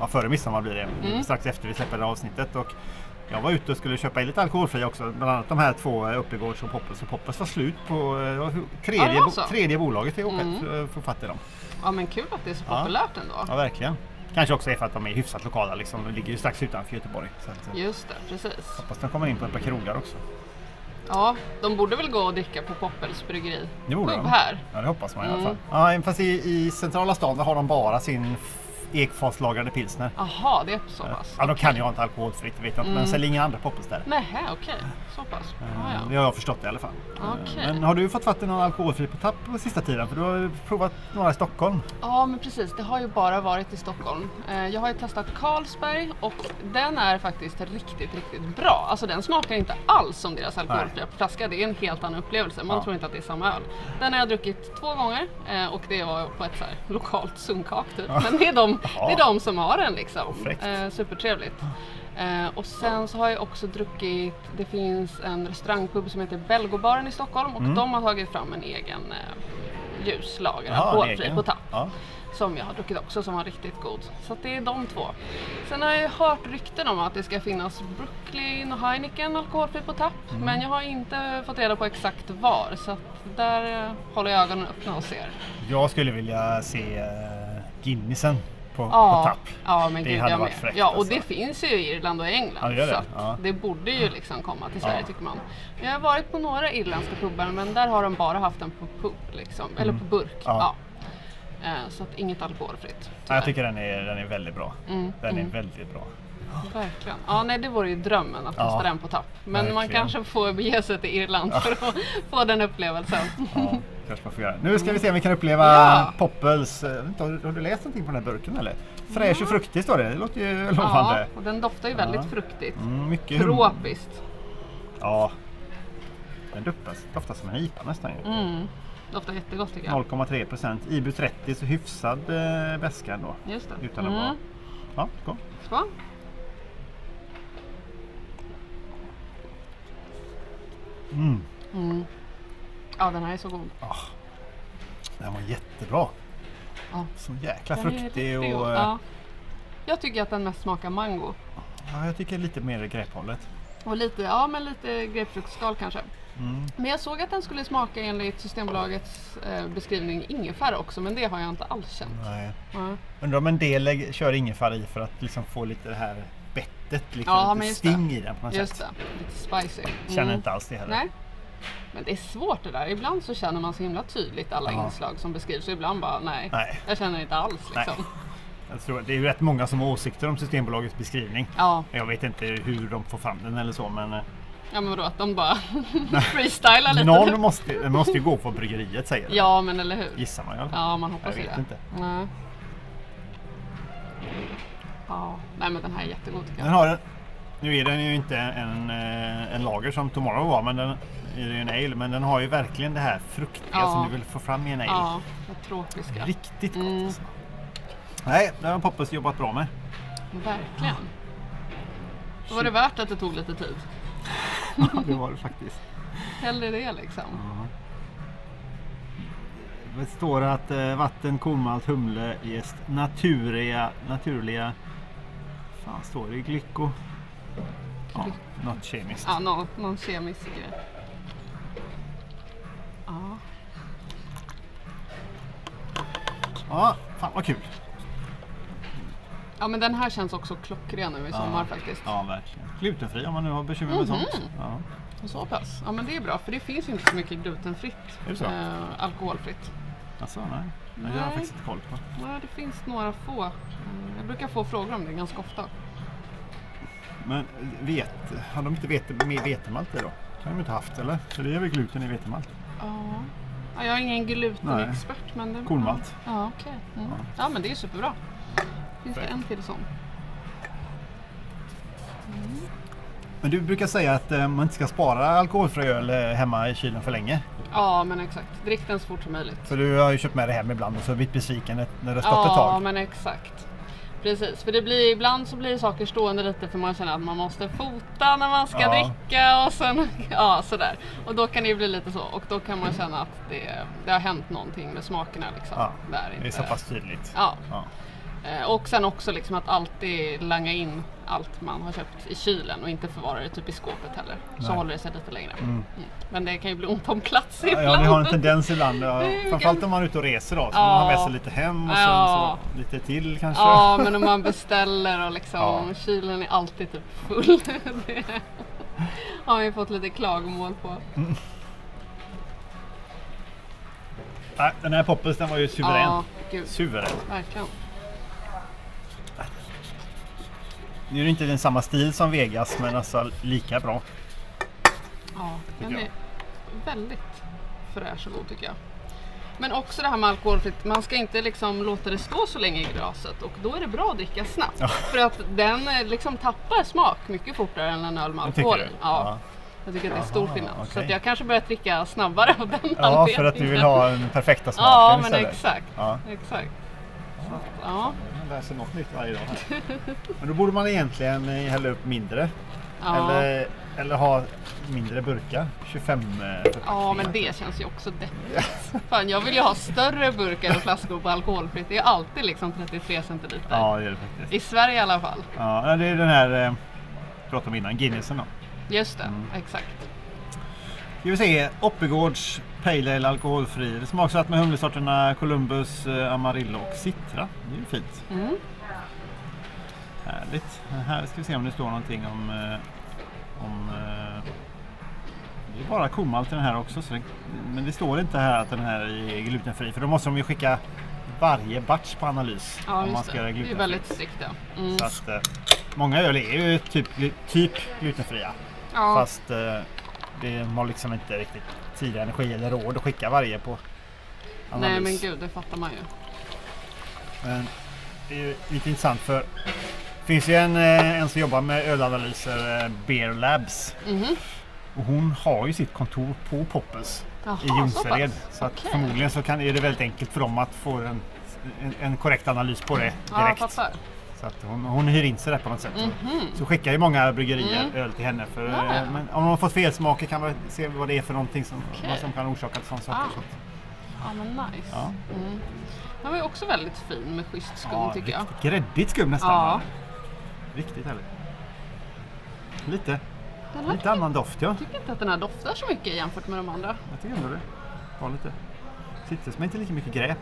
Speaker 1: Ja, före midsommar blir det.
Speaker 2: Mm.
Speaker 1: Strax efter vi släpper det här avsnittet. Och jag var ute och skulle köpa in lite alkoholfria också. Bland annat de här två, eh, Uppigårds och Poppels. Och Poppels var slut på eh, det var
Speaker 2: Ja,
Speaker 1: tredje,
Speaker 2: det var så.
Speaker 1: tredje bolaget i åket. Mm. Få fatt i dem.
Speaker 2: Ja men kul att det är så
Speaker 1: Ja.
Speaker 2: populärt ändå.
Speaker 1: Ja, verkligen. Kanske också är för att de är hyfsat lokala. Liksom. De ligger ju strax utanför Göteborg. Så att, eh,
Speaker 2: Just det, precis.
Speaker 1: hoppas de kommer in på ett par krogar också.
Speaker 2: Ja, de borde väl gå och dricka på Poppels bryggeri.
Speaker 1: Det borde
Speaker 2: Pub
Speaker 1: de.
Speaker 2: här.
Speaker 1: Ja, det hoppas man i alla
Speaker 2: Mm.
Speaker 1: fall. Ja, fast i, i centrala stan där har de bara sin f- ekfatslagrade pilsner.
Speaker 2: Jaha, det är så pass.
Speaker 1: Ja, de kan ju ha inte alkoholfritt, det vet jag inte, men säljer inga andra poppers där.
Speaker 2: Nähä, okej. Så pass. Mm. Ja,
Speaker 1: Det
Speaker 2: ja.
Speaker 1: har jag förstått i alla fall.
Speaker 2: Okej.
Speaker 1: Men har du fått fatt i någon alkoholfri på tapp på sista tiden? För du har ju provat några i Stockholm.
Speaker 2: ja, men precis. Det har ju bara varit i Stockholm. Eh, Jag har ju testat Carlsberg och den är faktiskt riktigt, riktigt bra. Alltså den smakar inte alls som deras alkoholfria flaska. Det är en helt annan upplevelse. Man
Speaker 1: Ja.
Speaker 2: tror inte att det är samma öl. Den har jag druckit två gånger eh, och det var på ett så här lokalt sunkak typ. Men det är, de, det är de som har den liksom.
Speaker 1: Fräckt.
Speaker 2: Eh, supertrevligt. Eh, och sen så har jag också druckit, det finns en restaurangpub som heter Belgobaren i Stockholm och
Speaker 1: Mm.
Speaker 2: de har tagit fram en egen eh, ljuslager,
Speaker 1: Jaha, en
Speaker 2: alkoholfri
Speaker 1: egen.
Speaker 2: på tapp.
Speaker 1: Ja.
Speaker 2: Som jag har druckit också som var riktigt god. Så att det är de två. Sen har jag ju hört rykten om att det ska finnas Brooklyn och Heineken alkoholfri på tapp.
Speaker 1: Mm.
Speaker 2: Men jag har inte fått reda på exakt var så att där eh, håller jag ögonen öppna och ser.
Speaker 1: Jag skulle vilja se eh, Guinnessen på, på tapp.
Speaker 2: ja men
Speaker 1: Det
Speaker 2: gud
Speaker 1: hade
Speaker 2: jag
Speaker 1: varit
Speaker 2: med.
Speaker 1: fräckt,
Speaker 2: ja, och
Speaker 1: alltså.
Speaker 2: det finns ju i Irland och
Speaker 1: Ja,
Speaker 2: England.
Speaker 1: det gör det.
Speaker 2: Så att
Speaker 1: Ja.
Speaker 2: det borde ju liksom komma till Sverige
Speaker 1: Ja.
Speaker 2: tycker man. Jag har varit på några irländska pubbar men där har de bara haft den på pub liksom, eller på burk. Ja.
Speaker 1: Mm. Ja.
Speaker 2: Eh, Så att inget alkoholfritt.
Speaker 1: Ja, jag
Speaker 2: tyvärr.
Speaker 1: tycker den är, den är väldigt bra.
Speaker 2: Mm.
Speaker 1: Den är väldigt bra.
Speaker 2: Verkligen. Ja, nej, det vore ju drömmen att
Speaker 1: Ja.
Speaker 2: testa den på tapp. Men man
Speaker 1: Verkligen.
Speaker 2: kanske får bege sig till Irland för att få den upplevelsen.
Speaker 1: Ja, kanske man får göra. Nu ska vi se om vi kan uppleva
Speaker 2: Ja.
Speaker 1: Poppels. eh, jag vet inte, Har, har du läst någonting på den här burken eller? Fräsch och fruktig står det. Det låter ju
Speaker 2: Ja,
Speaker 1: lovande.
Speaker 2: och den doftar ju väldigt fruktigt.
Speaker 1: Mm, mycket hum-
Speaker 2: Tropiskt.
Speaker 1: Ja. Den doftar, doftar som en IPA nästan ju.
Speaker 2: Mm. Doftar jättegott tycker jag.
Speaker 1: 0,3 procent. IBU 30 så hyfsad eh, väska ändå.
Speaker 2: Just det. Mm.
Speaker 1: Utan att vara... Ja, kom.
Speaker 2: Skål. Mm. Ja, den här är så god.
Speaker 1: Den var jättebra.
Speaker 2: Ja.
Speaker 1: Så jäkla
Speaker 2: Den är
Speaker 1: fruktig
Speaker 2: riktigt
Speaker 1: och...
Speaker 2: god.
Speaker 1: eh,
Speaker 2: Ja. Jag tycker att den mest smakar mango.
Speaker 1: Ja, jag tycker lite mer grephållet.
Speaker 2: Och lite, ja men lite grapefruktskal kanske.
Speaker 1: Mm.
Speaker 2: Men jag såg att den skulle smaka enligt Systembolagets eh, beskrivning ingefära också men det har jag inte alls känt.
Speaker 1: Nej.
Speaker 2: Ja.
Speaker 1: Undrar om en del lägger- kör ingefära i för att liksom få lite det här bettet, liksom
Speaker 2: Ja, men
Speaker 1: lite
Speaker 2: just det.
Speaker 1: sting i den på något
Speaker 2: Just
Speaker 1: sätt.
Speaker 2: det, lite spicy. Mm.
Speaker 1: Känner inte alls det heller.
Speaker 2: Nej. Men det är svårt det där. Ibland så känner man så himla tydligt alla
Speaker 1: Ja.
Speaker 2: inslag som beskrivs och ibland bara nej,
Speaker 1: Nej.
Speaker 2: jag känner inte alls liksom.
Speaker 1: Nej. Jag tror, det är ju rätt många som har åsikter om Systembolagets beskrivning.
Speaker 2: Ja,
Speaker 1: Jag vet inte hur de får fram den eller så men eh,
Speaker 2: ja men vadå att de bara freestylar lite.
Speaker 1: någon måste, den måste ju gå på bryggeriet säger de.
Speaker 2: Ja men eller hur.
Speaker 1: Gissar man ju i alla fall.
Speaker 2: Ja man
Speaker 1: Jag
Speaker 2: hoppas ju
Speaker 1: vet
Speaker 2: det.
Speaker 1: inte.
Speaker 2: Nej. Ja, nej men den här är jättegod tycker jag.
Speaker 1: Den har en, nu är den ju inte en, eh, en lager som Tomorrow var, men den är ju en ale. Men den har ju verkligen det här fruktiga
Speaker 2: Ja.
Speaker 1: som du vill få fram i en ale.
Speaker 2: Ja, vad tropiska.
Speaker 1: Riktigt gott
Speaker 2: Mm.
Speaker 1: alltså. Nej, det har Poppers jobbat bra med.
Speaker 2: Verkligen. Då var det värt att det tog lite tid.
Speaker 1: det var det faktiskt.
Speaker 2: Hellre det liksom.
Speaker 1: Det står att eh, vatten, kornmalt, humle, jäst, naturliga, naturliga... fan står det? Glyko? Ja, något kemiskt.
Speaker 2: Ja, någon, någon kemisk grej. Ja,
Speaker 1: Ja, fan vad kul.
Speaker 2: ja men den här känns också klockren nu i sommar faktiskt.
Speaker 1: Ja, verkligen. Glutenfri om man nu har bekymmer
Speaker 2: Mhm.
Speaker 1: med sånt. Ja.
Speaker 2: Och Så pass. Ja men det är bra för det finns ju inte så mycket glutenfritt.
Speaker 1: Är det så?
Speaker 2: Eh, alkoholfritt.
Speaker 1: Alltså, nej. nej. Det har
Speaker 2: Nej.
Speaker 1: jag faktiskt inte koll på.
Speaker 2: Nej, det finns några få. Eh, Jag brukar få frågor om det ganska ofta.
Speaker 1: Men eh, vet, har de inte vete, med vetemalt i då? Det har de inte haft eller? För det är väl gluten i vetemalt?
Speaker 2: Ja. Ja, jag är ingen glutenexpert men... Det,
Speaker 1: Kornmalt.
Speaker 2: Ja, okej. Mm. Ja, men det är ju superbra. Finns det en till sån?
Speaker 1: Men du brukar säga att eh, man inte ska spara alkoholfri öl eh, hemma i kylen för länge.
Speaker 2: Ja, men exakt. Drick den så fort som möjligt.
Speaker 1: Så du har ju köpt med det hem ibland och så har du blivit besviken när- när det har stått ett
Speaker 2: Ja,
Speaker 1: tag.
Speaker 2: men exakt. Precis, för det blir, ibland så blir saker stående lite för man känner att man måste fota när man ska
Speaker 1: Ja.
Speaker 2: dricka och sen, ja sådär. Och då kan det ju bli lite så och då kan man känna att det, det har hänt någonting med smakerna liksom.
Speaker 1: Ja,
Speaker 2: Där
Speaker 1: Det är
Speaker 2: inte-
Speaker 1: så pass tydligt.
Speaker 2: Ja,
Speaker 1: Ja.
Speaker 2: Eh, Och sen också liksom att alltid langa in allt man har köpt i kylen och inte förvara det typ i skåpet heller. Så
Speaker 1: Nej.
Speaker 2: håller det sig lite längre. Mm. Men det kan ju bli ont om plats ibland.
Speaker 1: Ja, det har en tendens ibland. ja.
Speaker 2: Det är ju
Speaker 1: Framförallt om man är ute och reser då. Så
Speaker 2: Ja.
Speaker 1: man har med sig lite hem och sen
Speaker 2: Ja.
Speaker 1: så lite till kanske.
Speaker 2: Ja, men om man beställer och liksom
Speaker 1: Ja.
Speaker 2: kylen är alltid typ full. det har vi fått lite klagomål på.
Speaker 1: Mm. Nej, den här poppelsen var ju suverän.
Speaker 2: Ja, gud.
Speaker 1: Suverän.
Speaker 2: Verkligen.
Speaker 1: Nu är det inte den samma stil som Vegas men alltså lika bra.
Speaker 2: Ja, den
Speaker 1: Tycker jag.
Speaker 2: är väldigt fräsch och god tycker jag. Men också det här med alkoholfritt, man ska inte liksom låta det stå så länge i glaset och då är det bra att dricka snabbt.
Speaker 1: Ja.
Speaker 2: För att den eh, liksom tappar smak mycket fortare än en öl med
Speaker 1: Jag
Speaker 2: alkohol.
Speaker 1: tycker det.
Speaker 2: Ja, jag tycker att det är stor
Speaker 1: Jaha,
Speaker 2: skillnad. Så
Speaker 1: okej.
Speaker 2: att jag kanske börjar dricka snabbare av den
Speaker 1: Ja, för att du vill ha den perfekta smaken
Speaker 2: Ja, men
Speaker 1: istället.
Speaker 2: exakt.
Speaker 1: Ja.
Speaker 2: exakt. Så att, ja,
Speaker 1: Man lär sig något nytt varje dag. här. Men då borde man egentligen eh, hälla upp mindre.
Speaker 2: ja.
Speaker 1: Eller, eller ha mindre burkar. 25 eh,
Speaker 2: Ja,
Speaker 1: förpackningar.
Speaker 2: men det känns ju också deppigt. Fan, jag vill ju ha större burkar och flaskor på alkoholfritt. Det är alltid liksom 33 centiliter.
Speaker 1: Ja, det är det faktiskt.
Speaker 2: I Sverige i alla fall.
Speaker 1: Ja, nej, det är den här eh, vi pratade om innan, Guinnessen då.
Speaker 2: Just det,
Speaker 1: Mm.
Speaker 2: exakt.
Speaker 1: Ska vi se, Oppegårds Pale Ale alkoholfri. Smaksatt med humlesorterna Columbus, eh, Amarillo och Citra. Det är ju fint.
Speaker 2: Mm.
Speaker 1: Härligt. Här ska vi se om det står någonting om... eh, om eh, det är bara komalt i den här också. Så det, men det står inte här att den här är glutenfri. För då måste de ju skicka varje batch på analys.
Speaker 2: Ja,
Speaker 1: om man
Speaker 2: just
Speaker 1: ska göra
Speaker 2: det. Det är
Speaker 1: glutenfri.
Speaker 2: väldigt strikta. Mm.
Speaker 1: Så att, eh, många öl är ju typ, glu- typ glutenfria.
Speaker 2: Ja,
Speaker 1: Fast eh, det har liksom inte riktigt tid, energi eller råd att skicka varje på
Speaker 2: nej
Speaker 1: analys.
Speaker 2: men gud, det fattar man ju.
Speaker 1: Men det är ju lite intressant för det finns ju en, eh, en som jobbar med ölanalyser, eh, Beer Labs.
Speaker 2: Mhm.
Speaker 1: Och hon har ju sitt kontor på Poppes
Speaker 2: Jaha,
Speaker 1: i Jonsered.
Speaker 2: så pass.
Speaker 1: Så att
Speaker 2: Okej.
Speaker 1: förmodligen så kan, är det väldigt enkelt för dem att få en, en, en korrekt analys på det
Speaker 2: Ja, jag
Speaker 1: direkt.
Speaker 2: fattar.
Speaker 1: Så att hon, hon hyr in sig där på något sätt.
Speaker 2: Mhm. Mm.
Speaker 1: Så skickar ju många bryggerier öl till henne. För,
Speaker 2: Ja, ja.
Speaker 1: eh, men om de har fått felsmaker kan man se vad det är för någonting som, vad som kan orsaka sådana saker.
Speaker 2: Ah.
Speaker 1: Så att-
Speaker 2: Ja, men nice.
Speaker 1: Ja.
Speaker 2: Mm. Den var ju också väldigt fin med schysst skum
Speaker 1: ja,
Speaker 2: tycker jag.
Speaker 1: riktigt Gräddigt skum nästan.
Speaker 2: Ja,
Speaker 1: Riktigt härligt. Lite,
Speaker 2: den här
Speaker 1: lite annan doft ja.
Speaker 2: jag tycker inte att den här doftar så mycket jämfört med de andra.
Speaker 1: Jag tycker ändå det. Var lite citrus men inte lika mycket gräp.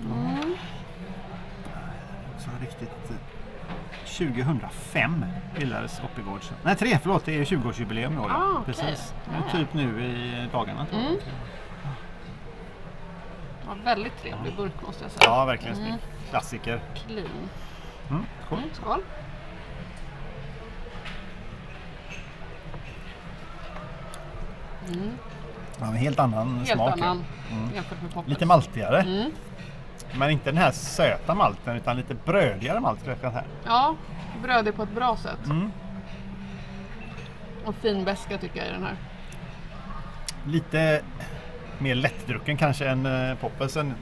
Speaker 2: Mm.
Speaker 1: Också riktigt... eh, 2005 bildades Oppigårds. Nej, tre förlåt. Det är 20-årsjubileum i år. ja.
Speaker 2: Ah, okej.
Speaker 1: Precis. Det är
Speaker 2: Ah.
Speaker 1: Typ nu i dagarna. tror jag.
Speaker 2: Mm. Ja, väldigt trevlig burk måste jag säga.
Speaker 1: Ja, verkligen snygg.
Speaker 2: Mm.
Speaker 1: Klassiker.
Speaker 2: Clean.
Speaker 1: Mm, cool.
Speaker 2: Mm, skål. Mm,
Speaker 1: Ja, en helt annan
Speaker 2: helt
Speaker 1: smak. ja.
Speaker 2: annan jämfört med poppers.
Speaker 1: Mm. Lite maltigare.
Speaker 2: Mm.
Speaker 1: Men inte den här söta malten utan lite brödigare malt. skulle jag säga Här.
Speaker 2: Ja, brödig på ett bra sätt.
Speaker 1: Mm.
Speaker 2: Och fin beska tycker jag i den här.
Speaker 1: Lite mer lättdrucken kanske än eh, poppelsen.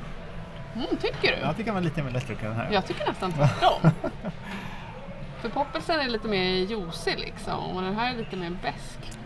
Speaker 2: Mm, tycker du?
Speaker 1: Jag tycker den var lite mer lättdrucken den här.
Speaker 2: Jag tycker nästan tvärtom. För poppelsen är lite mer juicy liksom och den här är lite mer besk.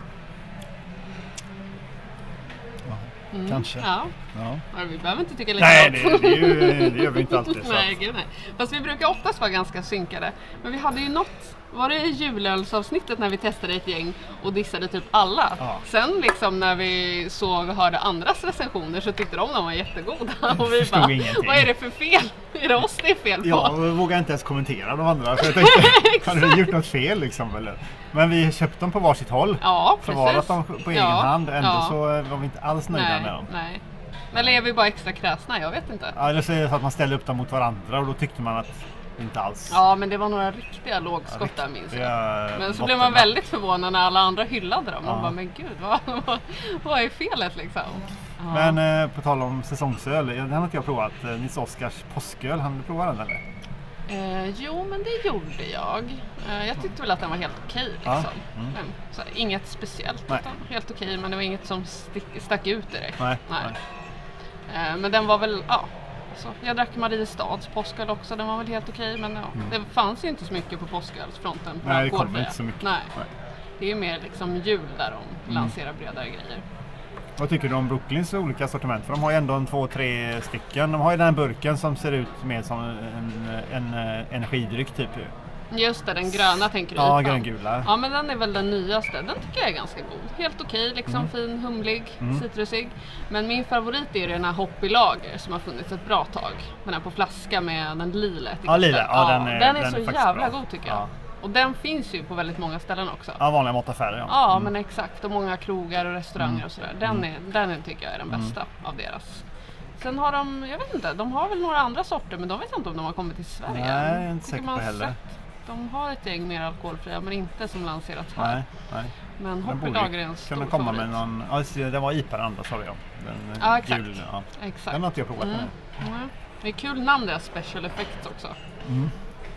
Speaker 2: Mm.
Speaker 1: Kanske.
Speaker 2: Ja.
Speaker 1: Ja.
Speaker 2: Ja, vi behöver inte tycka
Speaker 1: Nej,
Speaker 2: likadant.
Speaker 1: det, det, är ju, det gör vi inte alltid. Så.
Speaker 2: Nej, gud nej. Fast vi brukar oftast vara ganska synkade. Men vi hade ju något, var det i julölsavsnittet när vi testade ett gäng och dissade typ alla?
Speaker 1: Ja.
Speaker 2: Sen liksom när vi såg och hörde andras recensioner så tyckte de de var jättegoda. Och vi
Speaker 1: förstod
Speaker 2: bara,
Speaker 1: ingenting.
Speaker 2: vad är det för fel? Är det oss det är fel på?
Speaker 1: Jag vågar inte ens kommentera de andra. För jag tänkte, har du gjort något fel liksom? Eller? Men vi köpte dem på varsitt håll.
Speaker 2: Ja, precis.
Speaker 1: Förvarat dem på egen
Speaker 2: Ja,
Speaker 1: hand. Ändå
Speaker 2: ja.
Speaker 1: så var vi inte alls nöjda
Speaker 2: nej,
Speaker 1: med dem.
Speaker 2: nej. Eller är vi bara extra kräsna? Jag vet inte.
Speaker 1: Ja, Eller så är det så att man ställde upp dem mot varandra och då tyckte man att det inte alls
Speaker 2: Ja, men det var några riktiga lågskott där minns jag.
Speaker 1: Ja,
Speaker 2: Men så
Speaker 1: botten-
Speaker 2: blev man väldigt förvånad när alla andra hyllade dem. Man
Speaker 1: Ja.
Speaker 2: bara, men gud, vad, vad, vad är felet liksom? Ja.
Speaker 1: Men eh, på tal om säsongsöl, den har inte jag provat. Eh, Nils Oskars påsköl, han provat den eller?
Speaker 2: Eh, jo, men det gjorde jag. Eh, jag tyckte väl att den var helt okej.
Speaker 1: Ja, Mm.
Speaker 2: Liksom. Men, så här, inget speciellt,
Speaker 1: Nej.
Speaker 2: utan helt okej, men det var inget som stick, stack ut direkt.
Speaker 1: Nej,
Speaker 2: Nej. Eh, men den var väl, ja. Så, jag drack Mariestads påsköl också, den var väl helt okej. men ja, det fanns ju inte så mycket på påskölsfronten.
Speaker 1: Mm.
Speaker 2: på
Speaker 1: Nej, det
Speaker 2: alkoholfria.
Speaker 1: kommer inte så mycket.
Speaker 2: Nej.
Speaker 1: Nej. Mm.
Speaker 2: Det är ju mer liksom jul där de lanserar bredare grejer.
Speaker 1: Vad tycker du om Brooklyns olika sortiment? För de har ju ändå en två, tre stycken. De har ju den här burken som ser ut mer som en, en, eh, energidryck typ ju.
Speaker 2: Just det, den gröna tänker du
Speaker 1: Ja,
Speaker 2: utan.
Speaker 1: gröngula.
Speaker 2: Ja, men den är väl den nyaste. Den tycker jag är ganska god. Helt okej, liksom
Speaker 1: Mm.
Speaker 2: fin, humlig, citrusig. Men min favorit är den här Hoppy Lager som har funnits ett bra tag. Den här på flaska med den lila
Speaker 1: Ja,
Speaker 2: etiketten.
Speaker 1: lila. Ja, den är-
Speaker 2: den, är
Speaker 1: den
Speaker 2: så
Speaker 1: är faktiskt
Speaker 2: jävla
Speaker 1: bra.
Speaker 2: god tycker jag.
Speaker 1: Ja.
Speaker 2: Och den finns ju på väldigt många ställen också. Ja,
Speaker 1: Ja, vanliga måttaffärer ja.
Speaker 2: men exakt. Och många krogar och restauranger och sådär.
Speaker 1: Mm.
Speaker 2: Den, är, den tycker jag är den bästa av deras. Sen har de, jag vet inte, de har väl några andra sorter men de vet jag inte om de har kommit till Sverige.
Speaker 1: Nej, jag är
Speaker 2: än.
Speaker 1: inte
Speaker 2: Tycker
Speaker 1: säker
Speaker 2: man
Speaker 1: på heller.
Speaker 2: sett. De har ett gäng mer alkoholfria men inte som lanserat här.
Speaker 1: Nej, nej.
Speaker 2: Men
Speaker 1: Den
Speaker 2: Hoppy Lager är en
Speaker 1: borde
Speaker 2: stor
Speaker 1: kunna komma
Speaker 2: favorit.
Speaker 1: med någon... Ja, just det, den var IPA den andra sa jag. Den, eh,
Speaker 2: Ja, exakt.
Speaker 1: gul, ja.
Speaker 2: Exakt.
Speaker 1: Den har inte jag provat
Speaker 2: Mm.
Speaker 1: ännu.
Speaker 2: Mm. Det är kul namn det, Special Effects också.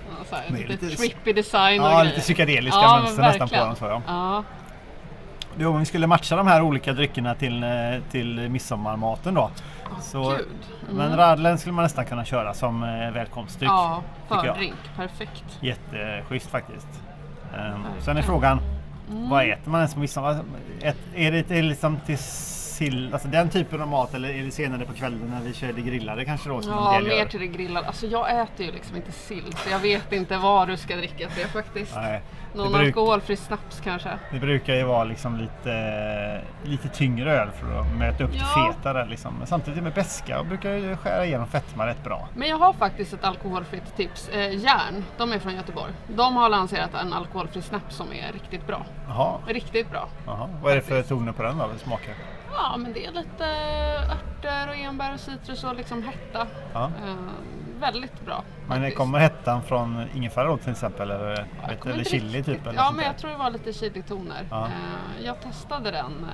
Speaker 2: Ja, så här,
Speaker 1: Mm. Det är
Speaker 2: lite
Speaker 1: lite-
Speaker 2: trippy design och
Speaker 1: Ja,
Speaker 2: grejer.
Speaker 1: lite psykedeliska
Speaker 2: Ja, men
Speaker 1: mönster nästan på
Speaker 2: verkligen.
Speaker 1: den sa jag.
Speaker 2: Ja,
Speaker 1: Du, om vi skulle matcha de här olika dryckerna till, eh, till midsommarmaten då. Så,
Speaker 2: gud. Mm.
Speaker 1: Men radlen skulle man nästan kunna köra som eh, välkomstdryck.
Speaker 2: ja,
Speaker 1: tycker jag.
Speaker 2: fördrink. Perfekt.
Speaker 1: Jätteschysst faktiskt. Ehm, sen är
Speaker 2: Verkligen.
Speaker 1: frågan,
Speaker 2: Mm.
Speaker 1: vad äter man ens på midsommar? Ät- Är det, är det liksom till sill, alltså den typen av mat eller är det senare på kvällen när vi kör det grillade kanske då? Som
Speaker 2: Ja,
Speaker 1: en del gör?
Speaker 2: mer till det grillade. Alltså jag äter ju liksom inte sill så jag vet inte vad du ska dricka till faktiskt.
Speaker 1: Nej, det,
Speaker 2: Någon
Speaker 1: bruk,
Speaker 2: alkoholfri snaps kanske.
Speaker 1: det brukar ju vara liksom lite, lite tyngre öl för att möta upp
Speaker 2: Ja.
Speaker 1: det fetare. Liksom. Men samtidigt med beska och brukar ju skära igenom fetma rätt bra.
Speaker 2: Men jag har faktiskt ett alkoholfritt tips. Eh, Järn, de är från Göteborg. De har lanserat en alkoholfri snaps som är riktigt bra.
Speaker 1: Jaha,
Speaker 2: Riktigt bra.
Speaker 1: jaha. vad är det för toner på den då? eller Smaker?
Speaker 2: Ja, men det är lite eh, örter och enbär och citrus och liksom hetta.
Speaker 1: Ja.
Speaker 2: Eh, väldigt bra.
Speaker 1: Men det
Speaker 2: faktiskt.
Speaker 1: kommer hettan från ingefära då till exempel? Eller,
Speaker 2: Ja, jag
Speaker 1: vet,
Speaker 2: kommer
Speaker 1: eller
Speaker 2: inte
Speaker 1: chili
Speaker 2: riktigt-
Speaker 1: typ? Eller
Speaker 2: Ja,
Speaker 1: sånt
Speaker 2: men
Speaker 1: där.
Speaker 2: jag tror det var lite chilitoner.
Speaker 1: Ja.
Speaker 2: Eh, jag testade den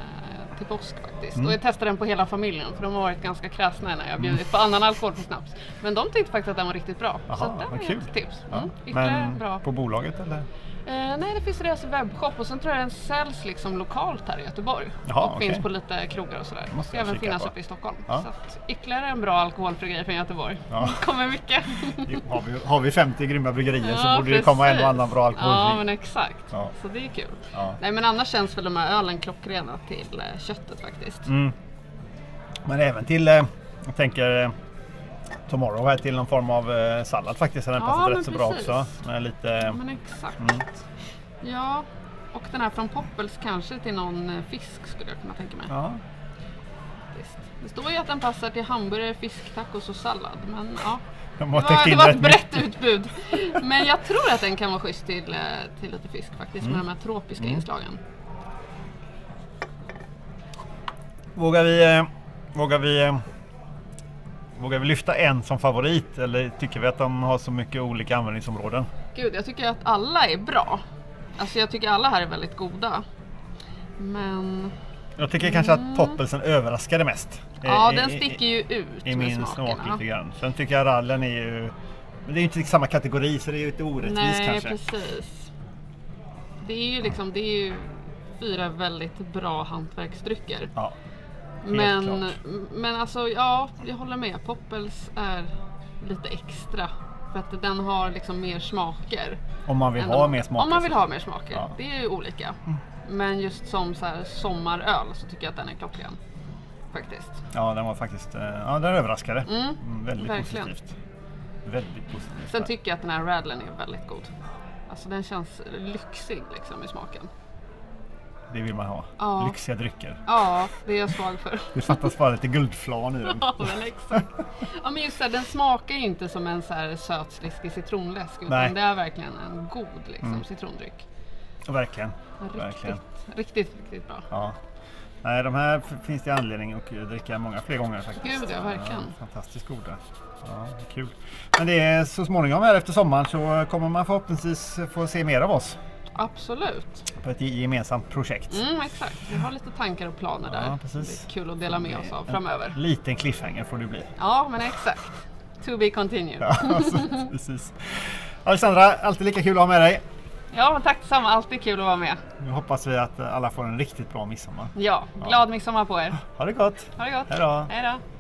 Speaker 2: eh, till påsk faktiskt.
Speaker 1: Mm.
Speaker 2: Och jag testade den på hela familjen för de har varit ganska kräsna när jag bjudit på annan alkohol för snaps. Men de tyckte faktiskt att den var riktigt bra. så
Speaker 1: Mm. Jaha,
Speaker 2: den
Speaker 1: vad
Speaker 2: är
Speaker 1: kul.
Speaker 2: ett tips.
Speaker 1: Ja.
Speaker 2: Mm, ytterligare
Speaker 1: Men
Speaker 2: bra.
Speaker 1: på bolaget eller?
Speaker 2: Eh, nej, det finns deras webbshop och sen tror jag den säljs liksom lokalt här i Göteborg.
Speaker 1: Jaha,
Speaker 2: och
Speaker 1: okej.
Speaker 2: finns på lite krogar och sådär.
Speaker 1: måste
Speaker 2: Ska
Speaker 1: jag
Speaker 2: även
Speaker 1: kika
Speaker 2: finnas
Speaker 1: på.
Speaker 2: uppe i Stockholm.
Speaker 1: Ja.
Speaker 2: Så att ytterligare en bra alkoholfri grej från Göteborg.
Speaker 1: Ja.
Speaker 2: kommer mycket.
Speaker 1: Jo, har, vi, har vi 50 grymma bryggerier så
Speaker 2: Ja,
Speaker 1: borde det komma en och
Speaker 2: precis.
Speaker 1: annan bra
Speaker 2: Ja,
Speaker 1: alkoholfri.
Speaker 2: men exakt.
Speaker 1: Ja.
Speaker 2: Så det är kul.
Speaker 1: Ja.
Speaker 2: Nej, men annars känns väl de här ölen klockrena till eh, köttet faktiskt.
Speaker 1: Mm. Men även till, eh, jag tänker eh, Tomorrow här till någon form av eh, sallad faktiskt. Den
Speaker 2: Ja,
Speaker 1: passat
Speaker 2: men
Speaker 1: rätt så bra
Speaker 2: precis.
Speaker 1: också. Med lite,
Speaker 2: Ja, men exakt.
Speaker 1: Mm.
Speaker 2: Ja, och den här från Poppels kanske till någon eh, fisk skulle jag kunna tänka mig.
Speaker 1: ja.
Speaker 2: faktiskt. Det står ju att den passar till hamburgare, fisk, tacos och sallad. Men ja,
Speaker 1: De
Speaker 2: det
Speaker 1: har täckt
Speaker 2: var, det
Speaker 1: in
Speaker 2: var ett
Speaker 1: rätt mycket.
Speaker 2: brett utbud. Men jag tror att den kan vara schysst till, eh, till lite fisk faktiskt med de här tropiska
Speaker 1: Mm.
Speaker 2: inslagen.
Speaker 1: Vågar vi, eh, vågar, vi, eh, vågar vi lyfta en som favorit eller tycker vi att de har så mycket olika användningsområden?
Speaker 2: Gud, jag tycker att alla är bra. Alltså jag tycker alla här är väldigt goda. Men
Speaker 1: Jag tycker kanske att poppelsen överraskade mest.
Speaker 2: Mm. ja,
Speaker 1: Eh,
Speaker 2: den
Speaker 1: i- i-
Speaker 2: sticker ju ut
Speaker 1: i
Speaker 2: med
Speaker 1: min
Speaker 2: smakerna.
Speaker 1: smak lite grann. Sen tycker jag rallen är ju... Men det är ju inte i samma kategori så det är ju lite orättvist
Speaker 2: Nej,
Speaker 1: kanske.
Speaker 2: precis. Det är ju liksom, det är ju fyra väldigt bra hantverksdrycker.
Speaker 1: Ja. Helt
Speaker 2: Men,
Speaker 1: klart.
Speaker 2: men alltså ja, jag håller med. Poppels är lite extra. För att den har liksom mer smaker.
Speaker 1: Om man vill
Speaker 2: än
Speaker 1: ha
Speaker 2: de-
Speaker 1: mer smak.
Speaker 2: Om man vill
Speaker 1: så-
Speaker 2: ha mer smaker.
Speaker 1: Ja. Mm.
Speaker 2: Det är ju olika. Men just som så här sommaröl så tycker jag att den är klockren. Faktiskt.
Speaker 1: Ja, den var faktiskt... eh, Ja, den överraskade.
Speaker 2: Mm,
Speaker 1: Mm, väldigt
Speaker 2: verkligen.
Speaker 1: positivt. Väldigt positivt.
Speaker 2: Sen tycker jag att den här Radlen är väldigt god. Alltså den känns lyxig liksom i smaken.
Speaker 1: Det vill man ha.
Speaker 2: Ja.
Speaker 1: Lyxiga drycker.
Speaker 2: Ja, det är jag svag för.
Speaker 1: Det fattas bara lite guldflan i den.
Speaker 2: Ja men exakt. Ja men just det, den smakar ju inte som en så här söt sliskig citronläsk utan
Speaker 1: Nej.
Speaker 2: det är verkligen en god liksom, citrondryck.
Speaker 1: Verkligen.
Speaker 2: En Riktigt,
Speaker 1: Verkligen.
Speaker 2: riktigt, riktigt bra.
Speaker 1: Ja. Nej, de här f- finns det anledning att dricka många fler gånger faktiskt.
Speaker 2: Gud, ja, verkligen.
Speaker 1: fantastiskt goda. Ja, kul. Men det är så småningom här efter sommaren så kommer man förhoppningsvis få se mer av oss
Speaker 2: Absolut.
Speaker 1: på ett gemensamt projekt.
Speaker 2: Mm, exakt. Vi har lite tankar och planer där.
Speaker 1: Ja, precis.
Speaker 2: Det är kul att dela med oss av framöver.
Speaker 1: En liten cliffhanger får du bli.
Speaker 2: Ja men exakt. To be continued. Ja,
Speaker 1: Ja, så- precis. Alexandra, alltid lika kul att ha med dig.
Speaker 2: men tack detsamma. Alltid kul att vara med.
Speaker 1: Nu hoppas vi att alla får en riktigt bra midsommar.
Speaker 2: Ja, glad midsommar på er.
Speaker 1: Ha det gott!
Speaker 2: Ha det gott.
Speaker 1: Hej då.
Speaker 2: Hej då.